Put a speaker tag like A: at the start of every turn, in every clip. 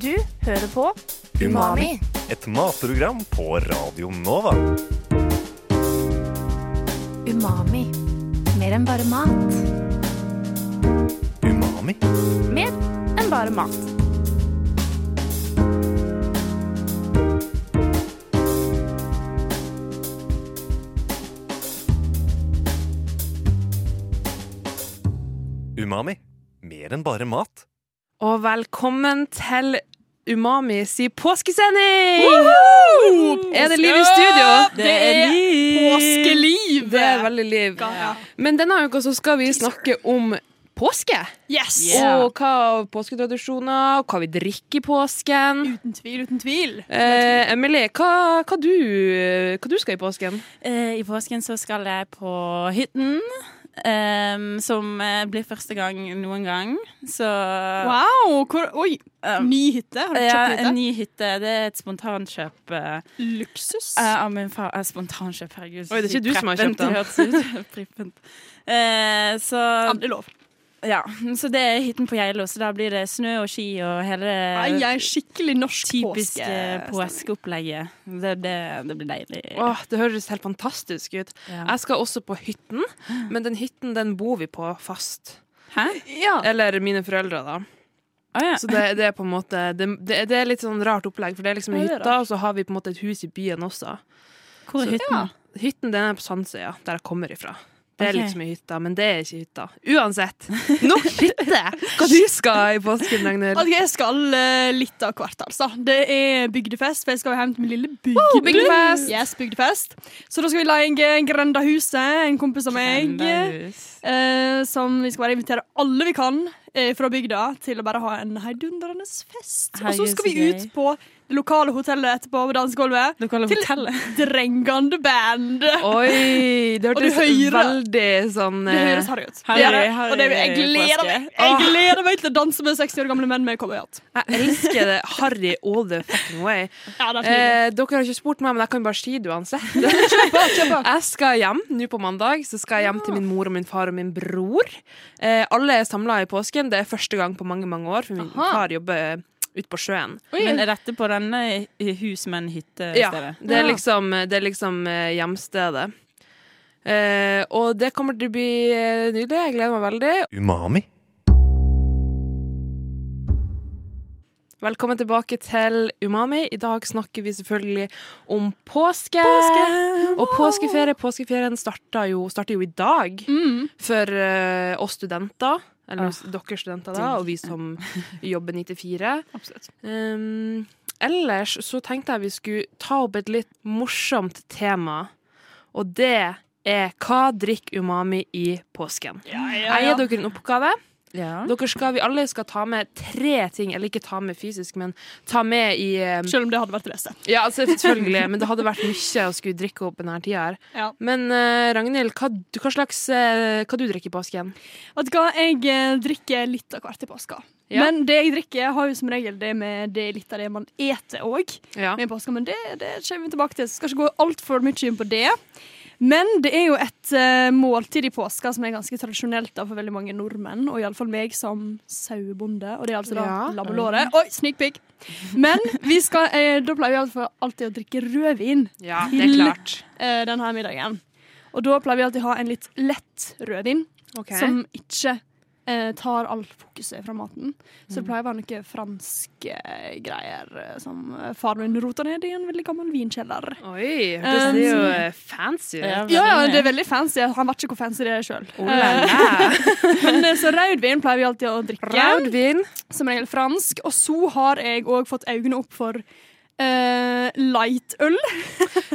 A: Du hører på
B: Umami.
C: Et matprogram på Radio Nova.
A: Umami. Mer enn bare mat.
C: Umami.
A: Mer enn bare mat.
C: Umami. Mer enn bare mat.
B: Og velkommen til Umami si påskesending! Er det liv i studio?
D: Det er
B: påskeliv! Det er veldig liv.
D: Ja.
B: Men denne uka så skal vi snakke om påske.
D: Yes!
B: Og hva av påsketradisjoner, og hva vi drikker i påsken.
D: Uten tvil, uten tvil.
B: Eh, Emilie, hva, hva, du, hva du skal i påsken?
D: Eh, I påsken så skal jeg på hytten, ehm, som eh, blir første gang noen gang. Så
E: Wow! Hvor, oi,
D: ehm,
E: ny hytte? Har du
D: ja,
E: kjøpt hytte?
D: en ny hytte. Det er et spontankjøp eh,
E: Luksus.
D: eh, av min far. eh, spontankjøp, herregud.
B: Ah. Oi, det er ikke du som har kjøpt den.
D: den. Eh, så,
B: Ah,
E: Aldri lov.
D: ja. så det er hytten på Geilo, så da blir det snø og ski og hele det
E: Nei, jeg er skikkelig norsk
D: typiske
E: påske.
D: påskeopplegget. Det, det, det blir deilig.
B: Åh, det høres helt fantastisk ut.
D: Ja.
B: Jeg skal også på hytten, men den hytten den bor vi på fast.
D: Hæ?
E: Ja.
B: Eller mine foreldre, da.
D: Å ja.
B: Så det, det er på en måte det, det, det er litt sånn rart opplegg, for det er liksom
D: Ja,
B: en
D: det er
B: hytte, og så har vi på en måte et hus i byen også.
D: Hvor er hytten?
B: Hytten den er på Sandsøya, der jeg kommer ifra. Det er
D: Ok.
B: liksom ei hytte, men det er ikke hytta. Uansett, nok hytte! Hva du skal i påsken, Ragnhild?
E: Ok, jeg skal eh, litt av hvert, altså. Det er bygdefest, for jeg skal hjem til min lille bygd.
B: bygdefest!
E: Yes, bygdefest. Så da skal vi leie en Grendahuset, en kompis av meg. eh, som vi skal bare invitere alle vi kan eh, fra bygda til å bare ha en heidundrende fest. Og så
D: Herregud,
E: skal vi
D: så
E: ut
D: gøy.
E: på det lokale hotellet etterpå på dansegulvet.
D: Lokale
E: Til-
D: hotellet.
E: Drengende band.
B: Oi! Det
E: Og du
B: hørtes
E: hører-
B: veldig sånn
E: Det
B: eh,
E: høres harry ut.
D: Harry,
E: Det gjør det.
D: harry
E: og det, jeg, gleder
D: påske.
E: meg, jeg gleder meg til å danse med 60 år gamle menn med cowboyhatt.
B: Jeg elsker det. Harry all the fucking way.
E: Ja, det er nydelig.
B: Eh, dere har ikke spurt meg, men jeg kan bare si det uansett. Jeg skal hjem nå på mandag. Så skal jeg hjem til min mor og min far og min bror. Eh, alle er samla i påsken. Det er første gang på mange mange år, for min far jobber ute på sjøen.
D: Men er dette på denne husmenn-hytte-stedet?
B: Ja, det er liksom, det er liksom eh, hjemstedet. Eh, og det kommer til å bli eh, nydelig. Jeg gleder meg veldig.
C: Umami.
B: Velkommen tilbake til Umami. I dag snakker vi selvfølgelig om påske. Og påskeferie. Påskeferien starter jo, starter jo i dag for eh, oss studenter. Eller dere studenter, da, og vi som jobber 94.
E: Absolutt.
B: Um, ellers så tenkte jeg vi skulle ta opp et litt morsomt tema, og det er hva drikker umami i påsken? Jeg gir dere en oppgave.
D: Ja.
B: Dere skal, vi alle skal ta med tre ting, eller ikke ta med fysisk, men ta med i eh,
E: Selv om det hadde vært det beste.
B: Ja, altså, selvfølgelig, men det hadde vært mye å skulle drikke opp denne tida her.
E: Ja.
B: Men eh, Ragnhild, hva, du- hva slags eh, Hva du drikker i påsken?
E: Vet du hva, jeg eh, drikker litt av hvert i påska.
B: Ja.
E: Men det jeg drikker, har jo som regel det med det er litt av det man eter òg.
B: Ja.
E: med påska, men det, det kommer vi tilbake til. Så skal ikke gå altfor mye inn på det. Men det er jo et eh, måltid i påska som er ganske tradisjonelt da, for veldig mange nordmenn, og iallfall meg som sauebonde. Og det er altså da
B: Ja.
E: lammelåret. Oi, sneak peek! Men vi skal, eh, da pleier vi iallfall alltid å drikke rødvin
B: Ja, det er klart.
E: eh, denne middagen. Og da pleier vi alltid å ha en litt lett rødvin
B: Ok.
E: som ikke eh, tar alt fokuset fra maten. Så det pleier å være noen franske greier eh, som eh, faren min rota ned i en veldig gammel vinkjeller.
B: Oi, det ser jo eh, fancy ut.
D: Ja,
E: Ja, ja, det er veldig fancy. Han vet ikke hvor fancy det er sjøl.
B: Oh, la, la.
E: Men eh, så rødvin pleier vi alltid å drikke.
B: Raudvin.
E: Som regel fransk. Og så har jeg òg fått øynene opp for eh, lightøl.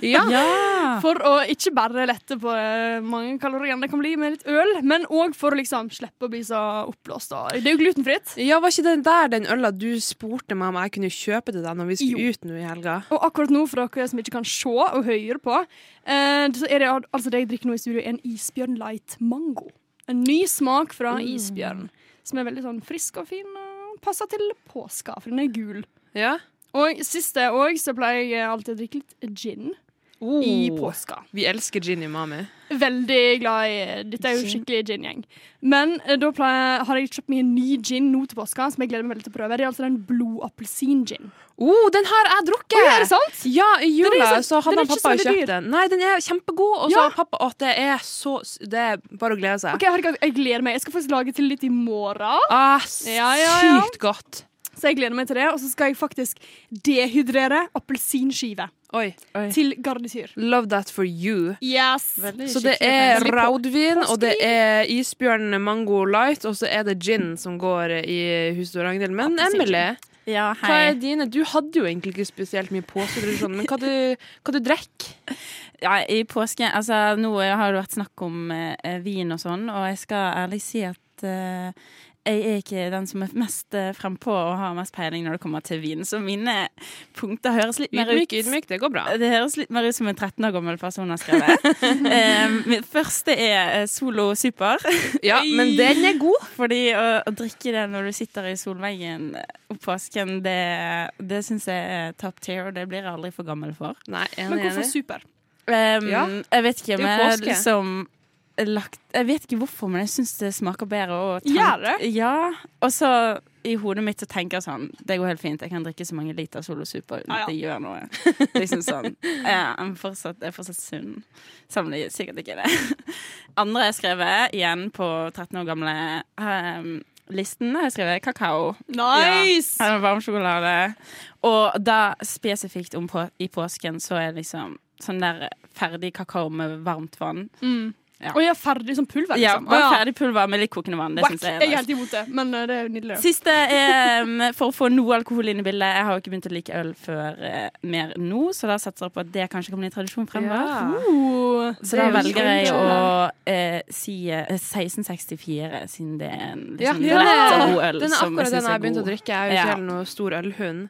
B: Ja.
D: Ja.
E: For å ikke bare lette på eh, mange kalorier det kan bli med litt øl, men òg for å liksom slippe å bli så oppblåst. og- Det er jo glutenfritt.
B: Ja, var ikke den der den øla du spurte meg om jeg kunne kjøpe til deg når vi skulle
E: Jo.
B: ut nå i helga?
E: Og akkurat nå, for dere som ikke kan se og høre på, eh, så er det al- altså det jeg drikker nå i studio, er en isbjørn light mango. En ny smak fra
B: Mm.
E: isbjørn, som er veldig sånn frisk og fin og passer til påska, for den er gul.
B: Ja.
E: Og siste òg så pleier jeg alltid å drikke litt gin.
B: Oh,
E: i påska.
B: Vi elsker gin umami.
E: Veldig glad i Dette er jo
D: Gin.
E: skikkelig gin-gjeng. Men eh, da pleier, har jeg kjøpt meg en ny gin nå til påska, som jeg gleder meg veldig til å prøve. Det er altså den blodappelsin-gin.
B: Oh, den har jeg drukket!
E: Oi, er det sant?
B: Ja, i jula
E: Den er ikke så-
B: så
E: den
B: hadde
E: er
B: han
E: ikke
B: pappa
E: så veldig dyr.
B: kjøpt den. Nei, den er kjempegod, og så
E: Ja.
B: har pappa Å, det er så s- Det er bare å glede seg.
E: Ok, herregud, Jeg gleder meg. Jeg skal faktisk lage til litt i morgen.
B: Ah,
E: Ja, ja, ja.
B: Sykt godt.
E: Så jeg gleder meg til det. Og så skal jeg faktisk dehydrere appelsinskive
B: Oi.
E: til garnityr.
B: Love that for you.
E: Yes.
B: Så det er
E: fancy.
B: raudvin,
E: Påske.
B: og det er isbjørn mango light, og så er det gin som går i huset til Ragnhild. Men
D: Appelsin.
B: Emily,
D: Ja,
B: hva er
D: hei.
B: dine? Du hadde jo egentlig ikke spesielt mye påsketradisjon, men hva du, hva du drekk?
D: Ja, I påske Altså, nå har det vært snakk om eh, vin og sånn, og jeg skal ærlig si at eh, jeg er ikke den som er mest eh, frempå og har mest peiling når det kommer til vin, så mine punkter høres litt mer
B: Ydmyk,
D: ut
B: ydmyk, det går bra.
D: Det høres litt mer ut som en 13 år gammel person har skrevet. um, mitt første er eh, Solo Super.
B: Ja, men den er god.
D: Fordi å, å drikke det når du sitter i solveggen og påsken, det, det syns jeg er top tier, og det blir jeg aldri for gammel for.
B: Nei, enig,
E: Men hvorfor
B: enig.
E: super?
D: Um,
B: Ja.
D: Jeg vet ikke,
B: er jo
D: men jeg har
B: påske.
D: liksom lagt Jeg vet ikke hvorfor, men jeg syns det smaker bedre. Og
E: Gjør det?
D: Ja. Og så i hodet mitt så tenker jeg sånn Det går helt fint, jeg kan drikke så mange liter Solo Super uten
E: Ja, ja.
D: at det gjør noe. Liksom sånn. Ja, jeg, er fortsatt, jeg er fortsatt sunn. Selv om det sikkert ikke er det. Andre jeg skrevet, igjen på 13 år gamle um, listen, har jeg skrevet kakao.
E: Nice!
D: Ja, varm sjokolade. Og da spesifikt om på, i påsken, så er liksom sånn der ferdig kakao med varmt vann.
E: Og jeg er ferdig som pulver,
D: Ja,
E: liksom. Å,
D: bare
E: ja.
D: ferdig pulver med litt kokende vann. Det
E: Wack.
D: syns jeg
E: Jeg er
D: er nice.
E: helt imot det, men eh, det er jo nydelig.
D: Siste er um, for å få noe alkohol inn i bildet. Jeg har jo ikke begynt å like øl før eh, mer nå, så da satser jeg på at det kanskje kan bli en tradisjon fremover.
E: Oh.
D: Så
B: Det
D: da
B: er jo
D: velger jeg å
B: kjempebra.
D: eh, si eh, 1664, siden det er en
B: Ja,
D: liksom,
B: den
D: lett og
B: er,
D: god øl
B: den er
D: som jeg
B: akkurat den
D: syns
B: jeg
D: er
B: begynte å
D: god.
B: drikke. Jeg er jo ikke
D: Ja.
B: helt noen stor ølhund.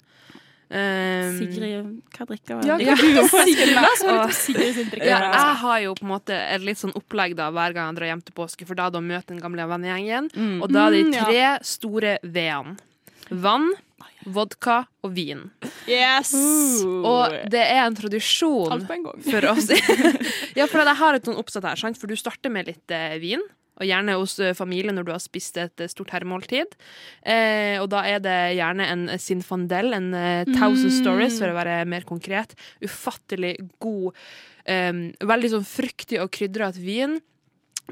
B: Um,
D: Sigrid, hva drikker du?
E: Ja,
B: Ja.
E: hva du og Sigrid, da? Så var det
B: Og-
E: Sigrid sin drikk.
B: Ja,
D: altså.
B: jeg har jo på en måte et litt sånn opplegg da hver gang jeg drar hjem til påske, for da da møter den gamle vennegjengen. Og da er det
E: Mm,
B: de
E: ja.
B: tre store V-ene. Vann, vodka og vin.
E: Yes!
D: Uh.
B: Og det er en
E: Alt
B: tradisjon
E: på en gang.
B: for oss Ja, for jeg har et sånn oppsett her, sant? for du starter med litt eh, vin. Og gjerne hos eh, familie når du har spist et eh, stort herremåltid. Eh, og da er det gjerne en eh, sinfandel, en eh, Thousand Stories, for å være mer konkret. Ufattelig god, eh, veldig sånn fruktig og krydret vin.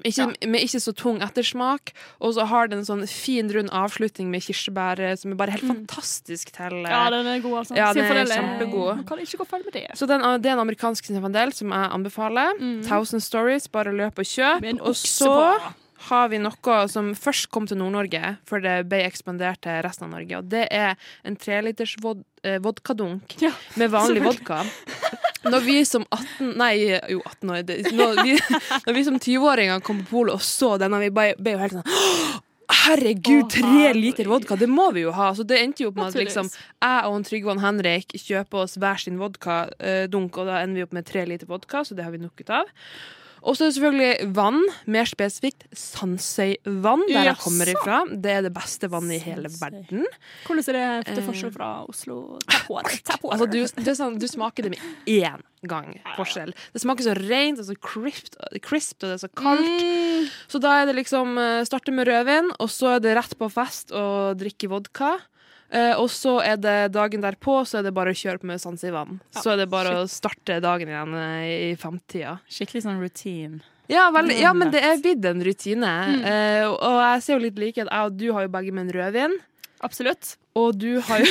B: Ikke, Med ikke så tung ettersmak. Og så har den en sånn fin, rund avslutning med kirsebær, eh, som er bare helt fantastisk til eh,
E: Ja, den er god, altså.
B: Ja, den er
E: Sinfandel
B: kjempegod.
E: Man kan ikke gå feil med det.
B: Så den, det er en amerikansk sinfandel som jeg anbefaler. Thousand Stories, bare løp og kjøp.
E: Mm. Med en
B: Og
E: okse
B: så
E: på.
B: har vi noe som først kom til Nord-Norge, før det ble ekspandert til resten av Norge. Og det er en treliters vod eh, vodkadunk
E: Ja,
B: med vanlig vodka. Når vi som 18 Nei, jo, 18 år det, Når vi, når vi som 20-åringer kom på polet og så denne, vi ble, ble jo helt sånn «Åh, Herregud,
E: Å,
B: tre
E: herregud.
B: liter vodka! Det må vi jo ha! Så det endte jo opp med at
E: Naturligvis.
B: liksom, jeg og en Trygve og en Henrik kjøper oss hver sin vodka-dunk, og da ender vi opp med tre liter vodka, så det har vi nok ut av. Og så er det selvfølgelig vann, mer spesifikt Sandsøyvann, der jeg
E: Jaså.
B: kommer ifra. Det er det beste vannet i hele verden.
E: Hvordan er det til
B: Eh.
E: forskjell fra Oslo? Tap water, tap water.
B: Altså, du, det er sånn, du smaker det med én gang forskjell. Det smaker så rent og så crispt, crispt, og det er så kaldt.
E: Mm.
B: Så da er det liksom eh, starte med rødvin, og så er det rett på fest og drikke vodka. Eh, og så er det dagen derpå, så er det bare å kjøre på med sans i vann.
E: Ja,
B: Så er det bare å starte dagen igjen eh, i femtida.
D: Skikkelig sånn routine.
B: Ja, vel, ja, men det er blitt en rutine.
E: Mm.
B: Eh, og- og jeg ser jo litt like at jeg og du har jo begge med en rødvin.
E: Absolutt.
B: Og du har jo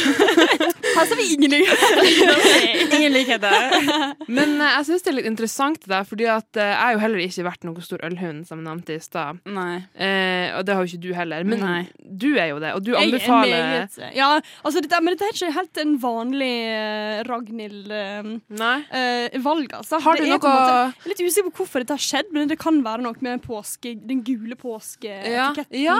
E: Her ser vi ingen
D: Ingen likheter.
B: Men eh, jeg syns det er litt interessant, det der, fordi at eh, jeg har jo heller ikke vært noen stor ølhund, som jeg nevnte i stad.
D: Nei.
B: Eh, og det har jo ikke du heller. Men
D: Nei.
B: du er jo det, og du
E: Jeg er
B: anbefaler
E: meget- Ja, altså, dette, men dette er ikke helt en vanlig eh, Ragnhild eh,
B: Nei?
E: eh, valg, altså.
B: Har du
E: Det er på
B: noe-
E: en måte- Jeg er litt usikker på hvorfor dette har skjedd, men det kan være noe med påske, den gule
B: Ja.
E: påskeetiketten.
B: ja.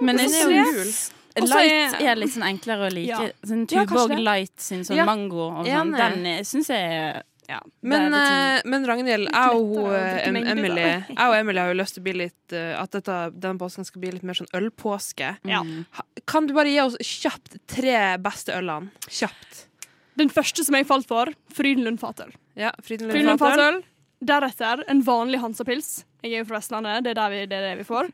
D: Men
B: Det
D: jeg
B: er jo jul.
D: syns
E: Også
D: light
E: er-
D: er litt sånn enklere å like.
E: Ja.
D: Sånn
B: Ja, kanskje
D: Tuborg
B: det.
D: light sin sånn
B: Ja.
D: mango og sånn.
B: Enig.
D: Den syns jeg er- ja,
B: Men,
D: det er litt
B: eh, men Ragnhild, jeg og, hun,
E: lettere å drikke
B: em-
E: mengder, da.
B: Emily, jeg og Emily har jo lyst til å bli litt eh, at dette, denne påsken skal bli litt mer sånn ølpåske.
E: Ja.
B: Ha- Kan du bare gi oss kjapt tre beste ølene? Kjapt.
E: Den første som jeg falt for, Frydenlund Fatøl.
B: Ja, Frydenlund
E: Frydenlund
B: Fatøl.
E: Fatøl. Deretter en vanlig Hansapils. Jeg er jo fra Vestlandet, det er, der vi, det er det vi får.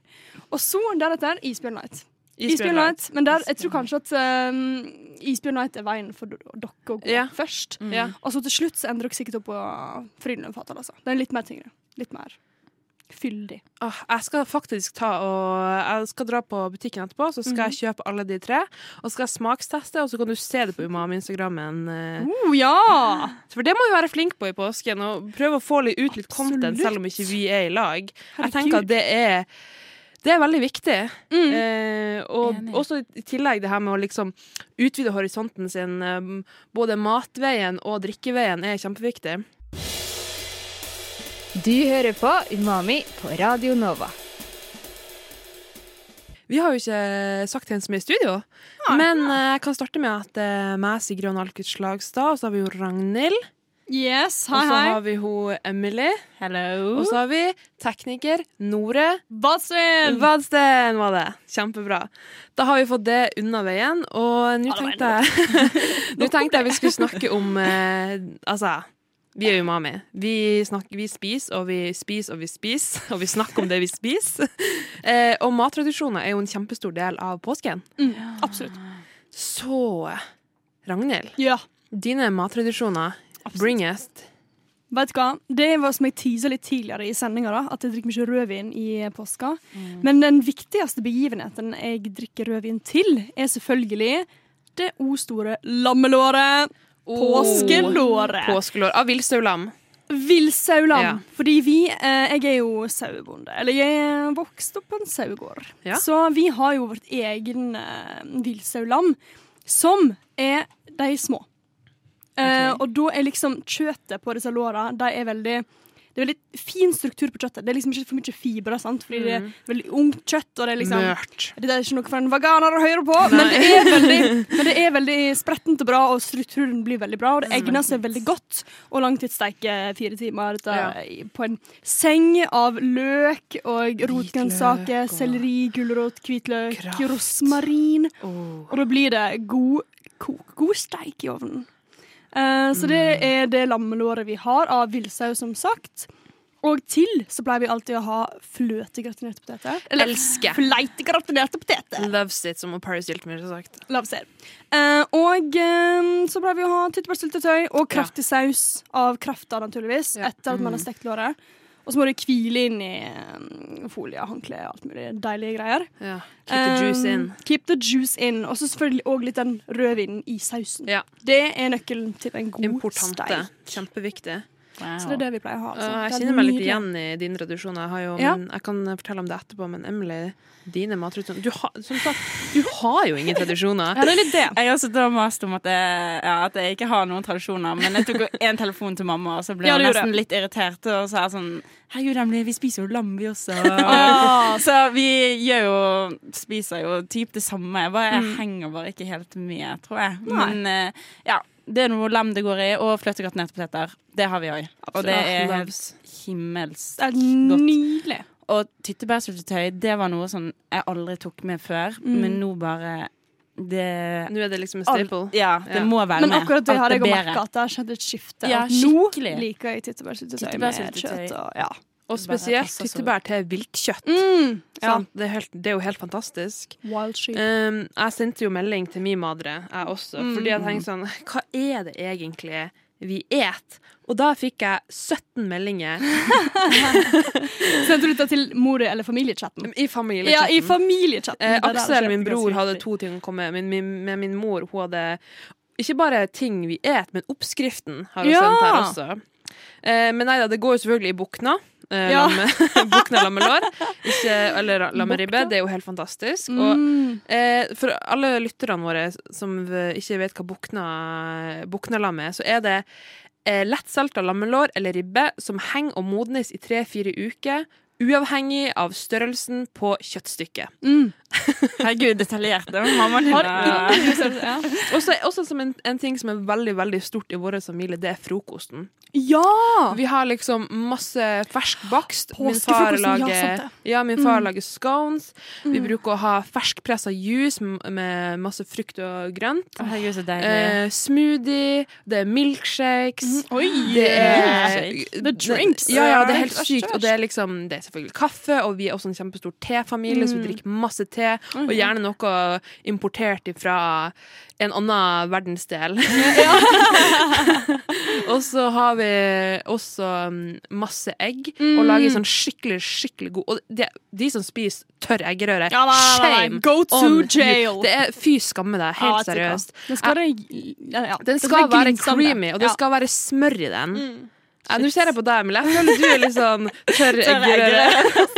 E: Og så deretter Isbjørn Light. Isbjørn Light, Men der, jeg tror kanskje at um, Isbjørn Light er veien for d- dere å gå
B: Ja. Mm.
E: først.
B: Ja.
E: Og så til slutt så ender dere sikkert opp på Frydenlund Fatøl. Altså. Den er litt mer tyngre. Litt mer fyldig.
B: Åh, jeg skal faktisk ta og Jeg skal dra på butikken etterpå, så skal jeg kjøpe alle de tre. Og så skal jeg smaksteste, og så kan du se det på Umami-instagrammen. eh.
E: Oh, ja!
B: For det må vi være flink på i påsken, og prøve å få litt ut litt content selv om ikke vi er i lag. Jeg tenker at det er det er veldig viktig.
F: Mm.
B: Eh, og
D: Enig.
B: også i tillegg det her med å liksom utvide horisonten sin. eh, Både matveien og drikkeveien er kjempeviktig.
F: Du hører på Umami på Radio Nova.
B: Vi har jo ikke sagt igjen så mye i studio, men eh, jeg kan starte med at det er meg, Sigrid og Nalkut Slagstad, og så har vi jo Ragnhild,
E: Yes,
B: og
E: hei,
B: så
E: hei.
B: har vi ho Emily,
D: Hello.
B: og så har vi tekniker Nore
E: Badstuen!
B: Vadsten var det. Kjempebra. Da har vi fått det unna veien, og nå
E: Ja, det var
B: tenkte jeg Nå tenkte jeg vi skulle snakke om eh, Altså, vi er umami. Vi, snakker, vi spiser og vi spiser og vi spiser, og vi snakker om det vi spiser. Eh, og mattradisjoner er jo en kjempestor del av påsken.
E: Absolutt.
B: Så Ragnhild,
E: Ja.
B: dine mattradisjoner, bring it.
E: Vet du hva? Det var som jeg teasa litt tidligere i sendinga, at jeg drikker mye rødvin i påska. Men den viktigste begivenheten jeg drikker rødvin til, er selvfølgelig det o store lammelåret.
B: Oh,
E: Påskelåret.
B: Påskelår av villsaulam.
E: Villsaulam.
B: Ja.
E: Fordi vi eh, Jeg er jo sauebonde. Eller jeg er vokst opp på en sauegård.
B: Ja.
E: Så vi har jo vårt egen eh, villsaulam, som er de små. Eh, og da er liksom kjøttet på disse låra De er veldig det er veldig fin struktur på kjøttet. Det er liksom ikke for mye fibre, sant? fordi det er veldig ungt kjøtt. Og det er liksom
B: Mørt.
E: Dette er ikke noe for en veganer å høre på, men det, er veldig, men det er veldig sprettent og bra, og strukturen blir veldig bra. Og det egner seg veldig godt å langtidssteike fire timer dette,
B: Ja.
E: i- på en seng av løk og rotgrønnsaker,
B: og-
E: selleri, gulrot, hvitløk,
B: Kraft.
E: rosmarin.
B: Oh.
E: Og da blir det god, kok- god steik i ovnen. Eh, så det er det lammelåret vi har av villsaus, som sagt. Og til så pleier vi alltid å ha fløtegratinerte poteter. Eller
B: Elsker.
E: fleitegratinerte poteter.
B: Loves it, som Paris Hilton ville sagt.
E: La oss se. Eh, og eh, så pleier vi å ha tyttebærsyltetøy og kraftig saus av krafta, naturligvis,
B: Ja. Mm.
E: etter at man har stekt låret. Og så må det hvile inn i eh, folie, håndkle og alt mulig deilige greier.
B: Ja. Um, Keep the juice
E: Eh,
B: in.
E: Keep the juice in. Og så selvfølgelig òg litt den rødvinen i sausen.
B: Ja.
E: Det er nøkkelen til en god
B: Importante.
E: steik.
B: Kjempeviktig.
D: Wow.
E: Så det er det vi pleier å ha. Altså.
B: Uh, jeg
E: Det er
B: kjenner meg litt
E: nydelig.
B: igjen i dine tradisjoner. Jeg, har jo,
E: Ja.
B: men, jeg kan fortelle om det etterpå, men Emily, dine mattradisjoner du, har- som sagt, du har jo ingen tradisjoner.
E: Ja, det er litt det.
D: Jeg har sittet og mast om at jeg, ja, at jeg ikke har noen tradisjoner, men jeg tok en telefon til mamma, og så ble
E: Ja,
D: hun
E: du gjorde
D: nesten litt irritert og sa sånn Herregud, Emily, vi spiser jo lam, vi også.
E: Ah.
D: Så vi gjør jo Spiser jo typ det samme. Jeg, bare,
E: Mm.
D: jeg henger bare ikke helt med, tror jeg. Men eh, ja. Det er noe lam det går i, og fløtegratinerte poteter. Det har vi òg. Og det er helt
B: Loves.
D: himmelsk
E: Det er
D: godt.
E: nydelig.
D: Og tyttebærsyltetøy, det var noe sånn jeg aldri tok med før,
E: Mm.
D: men nå bare det
B: Nå er det liksom en
D: Alt-
B: staple.
D: Ja, det
B: Ja.
D: må være
E: Men
D: med.
E: akkurat det
D: Alt
E: har
D: er
E: jeg òg
D: bedre.
E: merka, at det har skjedd et skifte.
D: Ja,
E: at nå
D: skikkelig.
E: liker jeg tyttebærsyltetøy med
D: Tyttebærsyltetøy.
E: kjøtt. Og, ja.
B: Og spesielt
D: passer så
B: tyttebær til viltkjøtt. Mm,
E: ja.
B: sant? Det, er helt, det er jo helt fantastisk.
E: Wild sheep.
B: Um, jeg sendte jo melding til min madre, jeg også,
E: Mm.
B: fordi jeg tenkte sånn Hva er det egentlig vi et? Og da fikk jeg 17 meldinger
E: Sendte du dette til mor- eller familiechatten?
B: i familiechatten.
E: Ja, i familiechatten.
B: Eh,
E: Det der
B: Aksel,
E: skjer
B: min bror,
E: ganske
B: hadde
E: riktig.
B: to ting å komme med. Min, min, men min mor hun hadde ikke bare ting vi et, men oppskriften har hun
E: Ja!
B: sendt her også. Eh, men nei da, det går jo selvfølgelig i bukna. Eh,
E: Ja.
B: lamme, bukna lammelår. Ikke, eller ra- lammeribbe. Det er jo helt fantastisk.
E: Mm.
B: Og eh, for alle lytterne våre som v- ikke vet hva bukna, buknalam er, så er det eh, lettsalta lammelår eller ribbe som henger og modnes i tre-fire uker. uavhengig av størrelsen på kjøttstykket.
E: Mm.
D: Herregud, detaljert. Det var mammaen din. da.
E: Ja.
B: Også, også som en, en ting som er veldig veldig stort i vår familie, det er frokosten.
E: ja!
B: Vi har liksom masse fersk bakst. Min far
E: Ah. Påskefrokosten, ja,
B: lager,
E: sant det. Mm.
B: ja, min far lager scones. Vi bruker å ha ferskpressa juice m- med masse frukt og grønt.
D: Å, Herregud, så deilig.
B: Eh, smoothie, det er milkshakes.
E: Oi!
B: Det er
D: Milkshake.
E: Mhm. The drinks.
B: Ja, ja, det er helt
E: Æsj,
B: sykt. Og det er liksom Det er selvfølgelig kaffe, og vi er også en kjempestor tefamilie,
E: Mm.
B: så vi drikker masse te.
E: Mhm.
B: Og gjerne noe importert fra en annen verdensdel. og så har vi også mm, masse egg,
E: Mm.
B: og lager sånn skikkelig, skikkelig god Og de, de som spiser tørr eggerøre,
E: Ja, nei, nei, nei.
B: shame
E: Go to
B: on you.
E: jail.
B: Det er Fy skamme deg,
E: Ja,
B: helt
E: vet du hva.
B: seriøst.
E: Den skal, være- ja, ja.
B: Den skal være
E: glinsende.
B: sånn creamy, og det
E: Ja.
B: skal være smør i den.
D: Mm.
B: Ja, Nå ser jeg på deg, Emilie. Jeg føler du er litt sånn tørr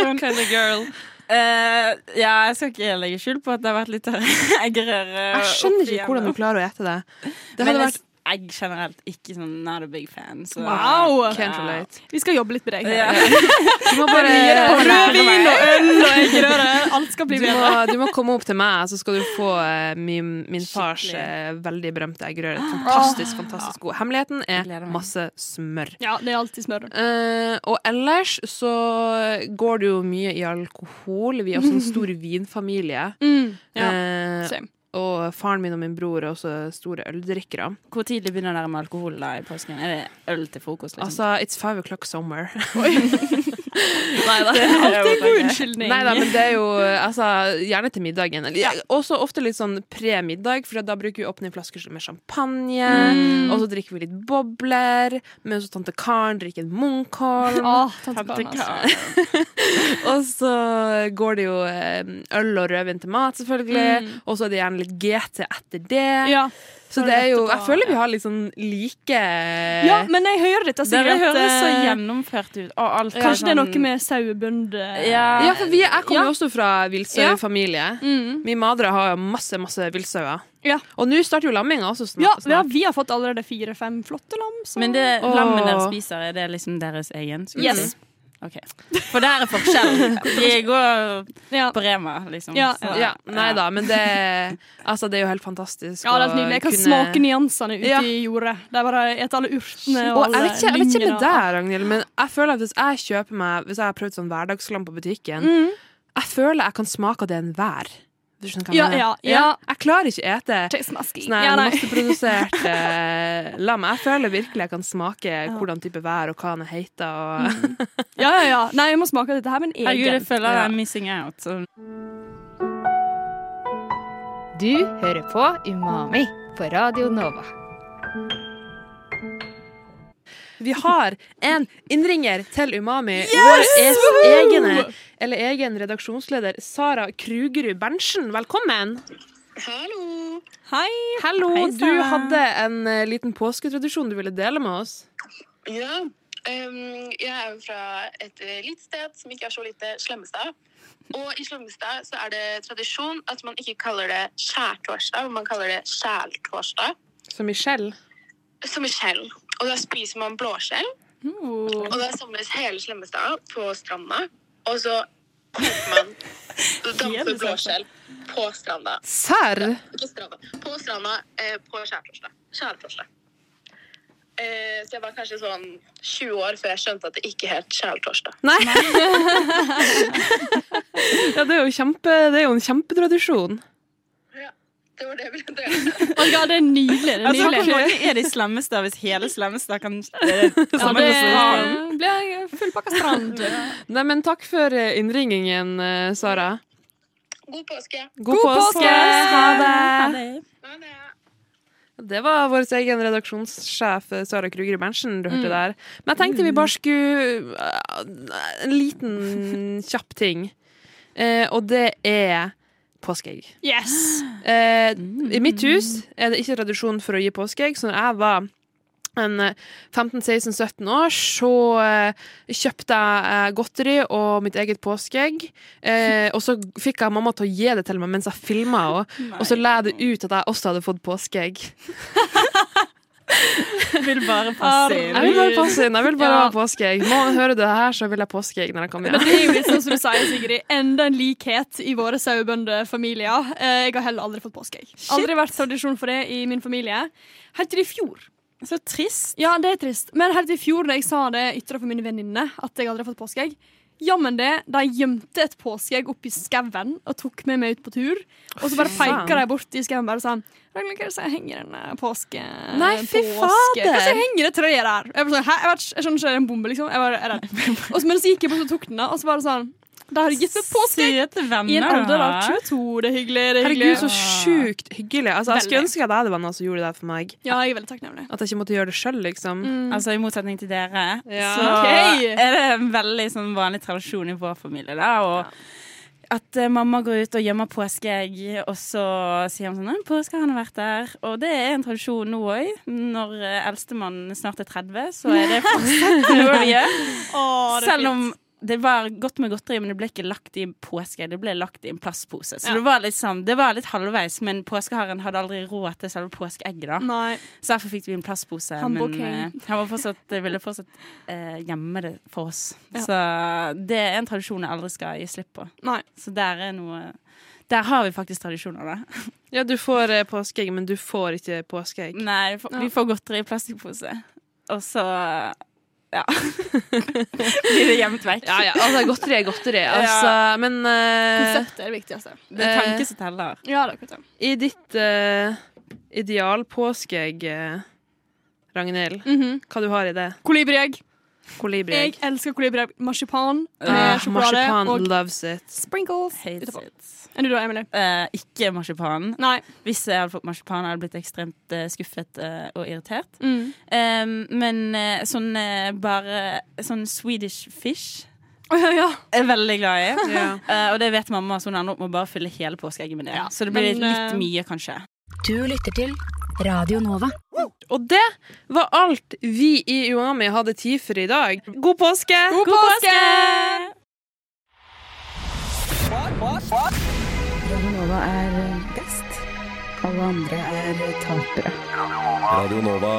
B: eggerøre.
D: girl. Eh, ja, jeg skal ikke legge skjul på at det har vært litt eggerøre.
B: Jeg skjønner ikke hvordan du klarer å ete det. Det
D: Men
B: hadde
D: jeg,
B: vært
D: jeg generelt ikke sånn not a big fan. Så.
E: Wow!
B: Can't relate.
E: Vi skal jobbe litt med deg.
D: Ja.
B: Du må bare
E: Rødvin og øl og eggerøre. Alt skal bli
B: du må,
E: bedre.
B: du må komme opp til meg, så skal du få eh, min, min fars
D: Skikkelig. Ah.
B: eh, veldig berømte eggerøre. Fantastisk, fantastisk god. Hemmeligheten
D: Jeg gleder
B: er
D: meg.
B: masse smør.
E: Ja, det er alltid smør.
B: Eh, og ellers så går det jo mye i alkohol. Vi er også en stor vinfamilie.
E: Mm, Ja,
B: Eh,
E: same.
B: og faren min og min bror er også store øldrikkere.
D: Hvor tidlig begynner dere med alkohol da i påsken? Er det øl til frokost? Liksom?
B: Altså, it's five o'clock somewhere.
D: det er alltid en god
E: Unnskyldning.
B: Nei da, men det er jo altså, gjerne til middagen. Eller, Også ofte litt sånn pre-middag, for da bruker vi å åpne en flaske med champagne.
E: Mm.
B: Og så drikker vi litt bobler, mens tante Karen drikker en Munkholm.
E: Åh, tante Karen, altså.
D: unnskyldning.
B: Og så går det jo eh, øl og rødvin til mat, selvfølgelig. Og så er det gjerne litt GT etter det.
E: Ja.
B: Mm. så det er jo
E: etterpå,
B: Jeg føler vi har litt sånn like
E: ja,
B: Eh.
E: men jeg hører dette.
D: Dere
E: Sigrid, at,
D: høres så
E: eh,
D: gjennomført ut. Og alt er
E: Kanskje det er
D: sånn-
E: noe med sauebønder
D: ja,
B: eh, Ja, for vi, jeg kommer
E: Ja.
B: jo også fra villsauefamilie.
E: Mm.
B: Min madre har jo masse, masse villsauer.
E: Ja.
B: Og nå starter jo altså, lamminga også snart.
E: Ja,
B: snart.
E: vi har fått allerede fire-fem flotte lam. Så.
D: Men det
B: Åh.
D: lammen dere spiser, er det liksom deres egen? skulle jeg
E: Yes.
D: si? Ok. For der er forskjellen. Jeg går
E: ja.
D: på Rema, liksom.
E: Ja,
D: så-
B: Ja, nei da, men det, altså, det er jo helt fantastisk.
E: Ja, det er helt
B: å
E: nydelig. Jeg kan
B: kunne-
E: smake nyansene ute
B: Ja.
E: i jordet. Det er bare et alle urtene og
B: Og jeg
E: alle
B: vet, ikke, jeg vet ikke med
E: lyngene.
B: deg, Ragnhild, men jeg føler at hvis jeg kjøper meg Hvis jeg har prøvd sånn hverdagslam på butikken,
E: Mm.
B: jeg føler jeg kan smake av det enhver. Du skjønner hva jeg
E: Ja,
B: mener?
E: ja, ja.
B: Jeg klarer ikke å ete
E: Taste masking.
B: sånn her
E: Ja, nei.
B: masseprodusert eh, lam. Jeg føler virkelig jeg kan smake hvordan type vær og hva den heter. Og
E: Mm. ja, ja, ja. Nei, jeg må smake dette her med en
D: Herregud, jeg
E: egen.
D: føler jeg
B: Ja.
D: er missing out. Så.
F: Du hører på Umami på Radio Nova.
B: Vi har en innringer til Umami. Vår es- egne, eller egen redaksjonsleder Sara Krugerud Berntsen. Velkommen.
E: Hei!
B: Hallo.
D: Hei,
B: du
D: Sara.
B: hadde en eh, liten påsketradisjon du ville dele med oss.
G: Ja. ehm, jeg er jo fra et eh, lite sted som ikke er så lite, Slemmestad. Og i Slemmestad så er det tradisjon at man ikke kaller det skjærtorsdag, men man kaller det skjæltorsdag.
B: Som Michelle.
G: Som i skjell. Og da spiser man blåskjell, og da samles hele Slemmestad på stranda. Og så koker man damper blåskjell på stranda.
B: Serr?
G: Ikke stranda. På stranda eh, på skjærtorsdag. Skjærtorsdag. Eh, så jeg var kanskje sånn 20 år før jeg skjønte at det ikke het skjærtorsdag.
B: Nei. ja, det er, jo kjempe, det er jo en kjempetradisjon.
G: Det var det jeg ville dele.
E: Å, ja, det er nydelig. Det er
D: Altså,
E: nydelig.
D: hvor mange er de slemmeste hvis hele Slemmestad kan det er
E: Ja,
D: samme person?
E: det ble jeg fullpakka strand.
B: Nei, men takk for eh, innringingen, eh, Sara.
G: God påske!
B: God, påske! Ha det!
G: Ha det!
B: Det var vår egen redaksjonssjef eh, Sara Kruger Berntsen du hørte der. Men jeg tenkte vi bare skulle eh, En liten kjapp ting. Eh, og det er påskeegg.
E: Yes!
B: Eh, I mitt hus er det ikke tradisjon for å gi påskeegg, så når jeg var en eh, 15-16-17 år, så eh, kjøpte jeg eh, godteri og mitt eget påskeegg. Eh, og så fikk jeg mamma til å gi det til meg mens jeg filma, og, og så la jeg det ut at jeg også hadde fått påskeegg.
D: Vil bare passe inn.
B: Jeg vil bare passe inn. Jeg vil bare
E: Ja.
B: ha påskeegg. Må han høre det her, så vil jeg påskeegg når jeg kommer
E: Men
B: hjem.
E: det er jo litt sånn som du sier, Sigrid. Enda en likhet i våre sauebøndefamilier. Eh, Jeg har heller aldri fått påskeegg. Aldri vært tradisjon for det i min familie. Helt til i fjor.
D: Så trist.
E: Ja, det er trist. Men helt til i fjor da jeg sa det ytra for mine venninner at jeg aldri har fått påskeegg, jammen det, de gjemte et påskeegg oppi skauen og tok med meg ut på tur. Og så bare
B: Fy faen.
E: peka de bort i skauen bare og sa Ragnhild, hva er det som henger i den påske...
B: Nei, fy
E: påske-
B: fader.
E: Hva er det som henger i det treet der? Jeg, bare sånn, Hæ? jeg, vet ikke- jeg skjønner ikke, er det en bombe, liksom? Jeg var redd. Og så, men så gikk jeg bort og tok den, da, og så bare sånn Da har jeg gitt et påskeegg!
D: Søte venner.
E: I en alder av
D: da.
E: 22. Det er hyggelig. Det er hyggelig.
B: Herregud, så sjukt hyggelig. Altså, jeg skulle
E: Veldig.
B: ønske at jeg hadde venner som gjorde det for meg.
E: Ja, jeg er veldig takknemlig.
B: At jeg ikke måtte gjøre det sjøl, liksom.
D: Altså I motsetning til dere,
E: Ja.
D: så
E: Ok.
D: er det en veldig sånn, vanlig tradisjon i vår familie. Da, og At eh, mamma går ut og gjemmer påskeegg, og så sier hun sånn «Nei, 'Påske har han vært der.' Og det er en tradisjon nå òg. Når eh, eldstemann snart er 30, så er det fortsatt noe vi gjør.
E: Åh, det er
D: Selv om
E: fint.
D: det var godt med godteri, men det ble ikke lagt i en påske. Det ble lagt i en plastpose. Så det, var litt sånn, det var litt halvveis, men påskeharen hadde aldri råd til selve påskeegget. da.
E: Nei.
D: Så derfor fikk vi en plastpose.
E: Han var
D: men
E: king.
D: eh, han var fortsatt, eh, ville fortsatt eh, gjemme det for oss.
E: Ja.
D: Så det er en tradisjon jeg aldri skal gi slipp på.
E: Nei.
D: Så der er noe Der har vi faktisk tradisjoner, da.
B: Ja, du får eh, påskeegg, men du får ikke påskeegg.
D: Nei, vi får, vi får godteri i plastikkpose. Og så ja. Blir det gjemt vekk.
B: Ja, ja, altså, godteri er godteri. Altså, Men eh,
E: Konseptet er det viktigste.
D: Det er
E: Eh,
D: tanke som teller.
E: Ja, det er akkurat det.
B: i ditt eh, ideal påskeegg, eh, Ragnhild, hva du har i det?
E: Kolibriegg. Jeg
B: Kolibriegg.
E: elsker kolibriegg. Marsipan med
B: Ah,
E: sjokolade
B: marsipan
E: og
B: loves it.
E: sprinkles
D: Hates
E: etterpå.
D: it.
E: Enn du da, Emily?
D: Eh, ikke marsipan.
E: Nei.
D: Hvis jeg hadde fått marsipan, hadde jeg blitt ekstremt eh, skuffet eh, og irritert.
E: Mm.
D: Em, men eh, sånn eh, bare Sånn Swedish fish
E: Å, ja, ja.
D: er jeg veldig glad i.
B: Ja.
D: Eh, og det vet mamma, så hun ender opp med å bare fylle hele påskeegget med det.
E: Ja,
D: så det blir
E: men,
D: litt
E: eh,
D: mye, kanskje.
F: Du lytter til Radio Nova.
B: Og det var alt vi i Umami hadde tid for i dag. God påske!
D: God påske!
F: Radio Nova er best. Alle andre er tapere.
C: Radio Nova.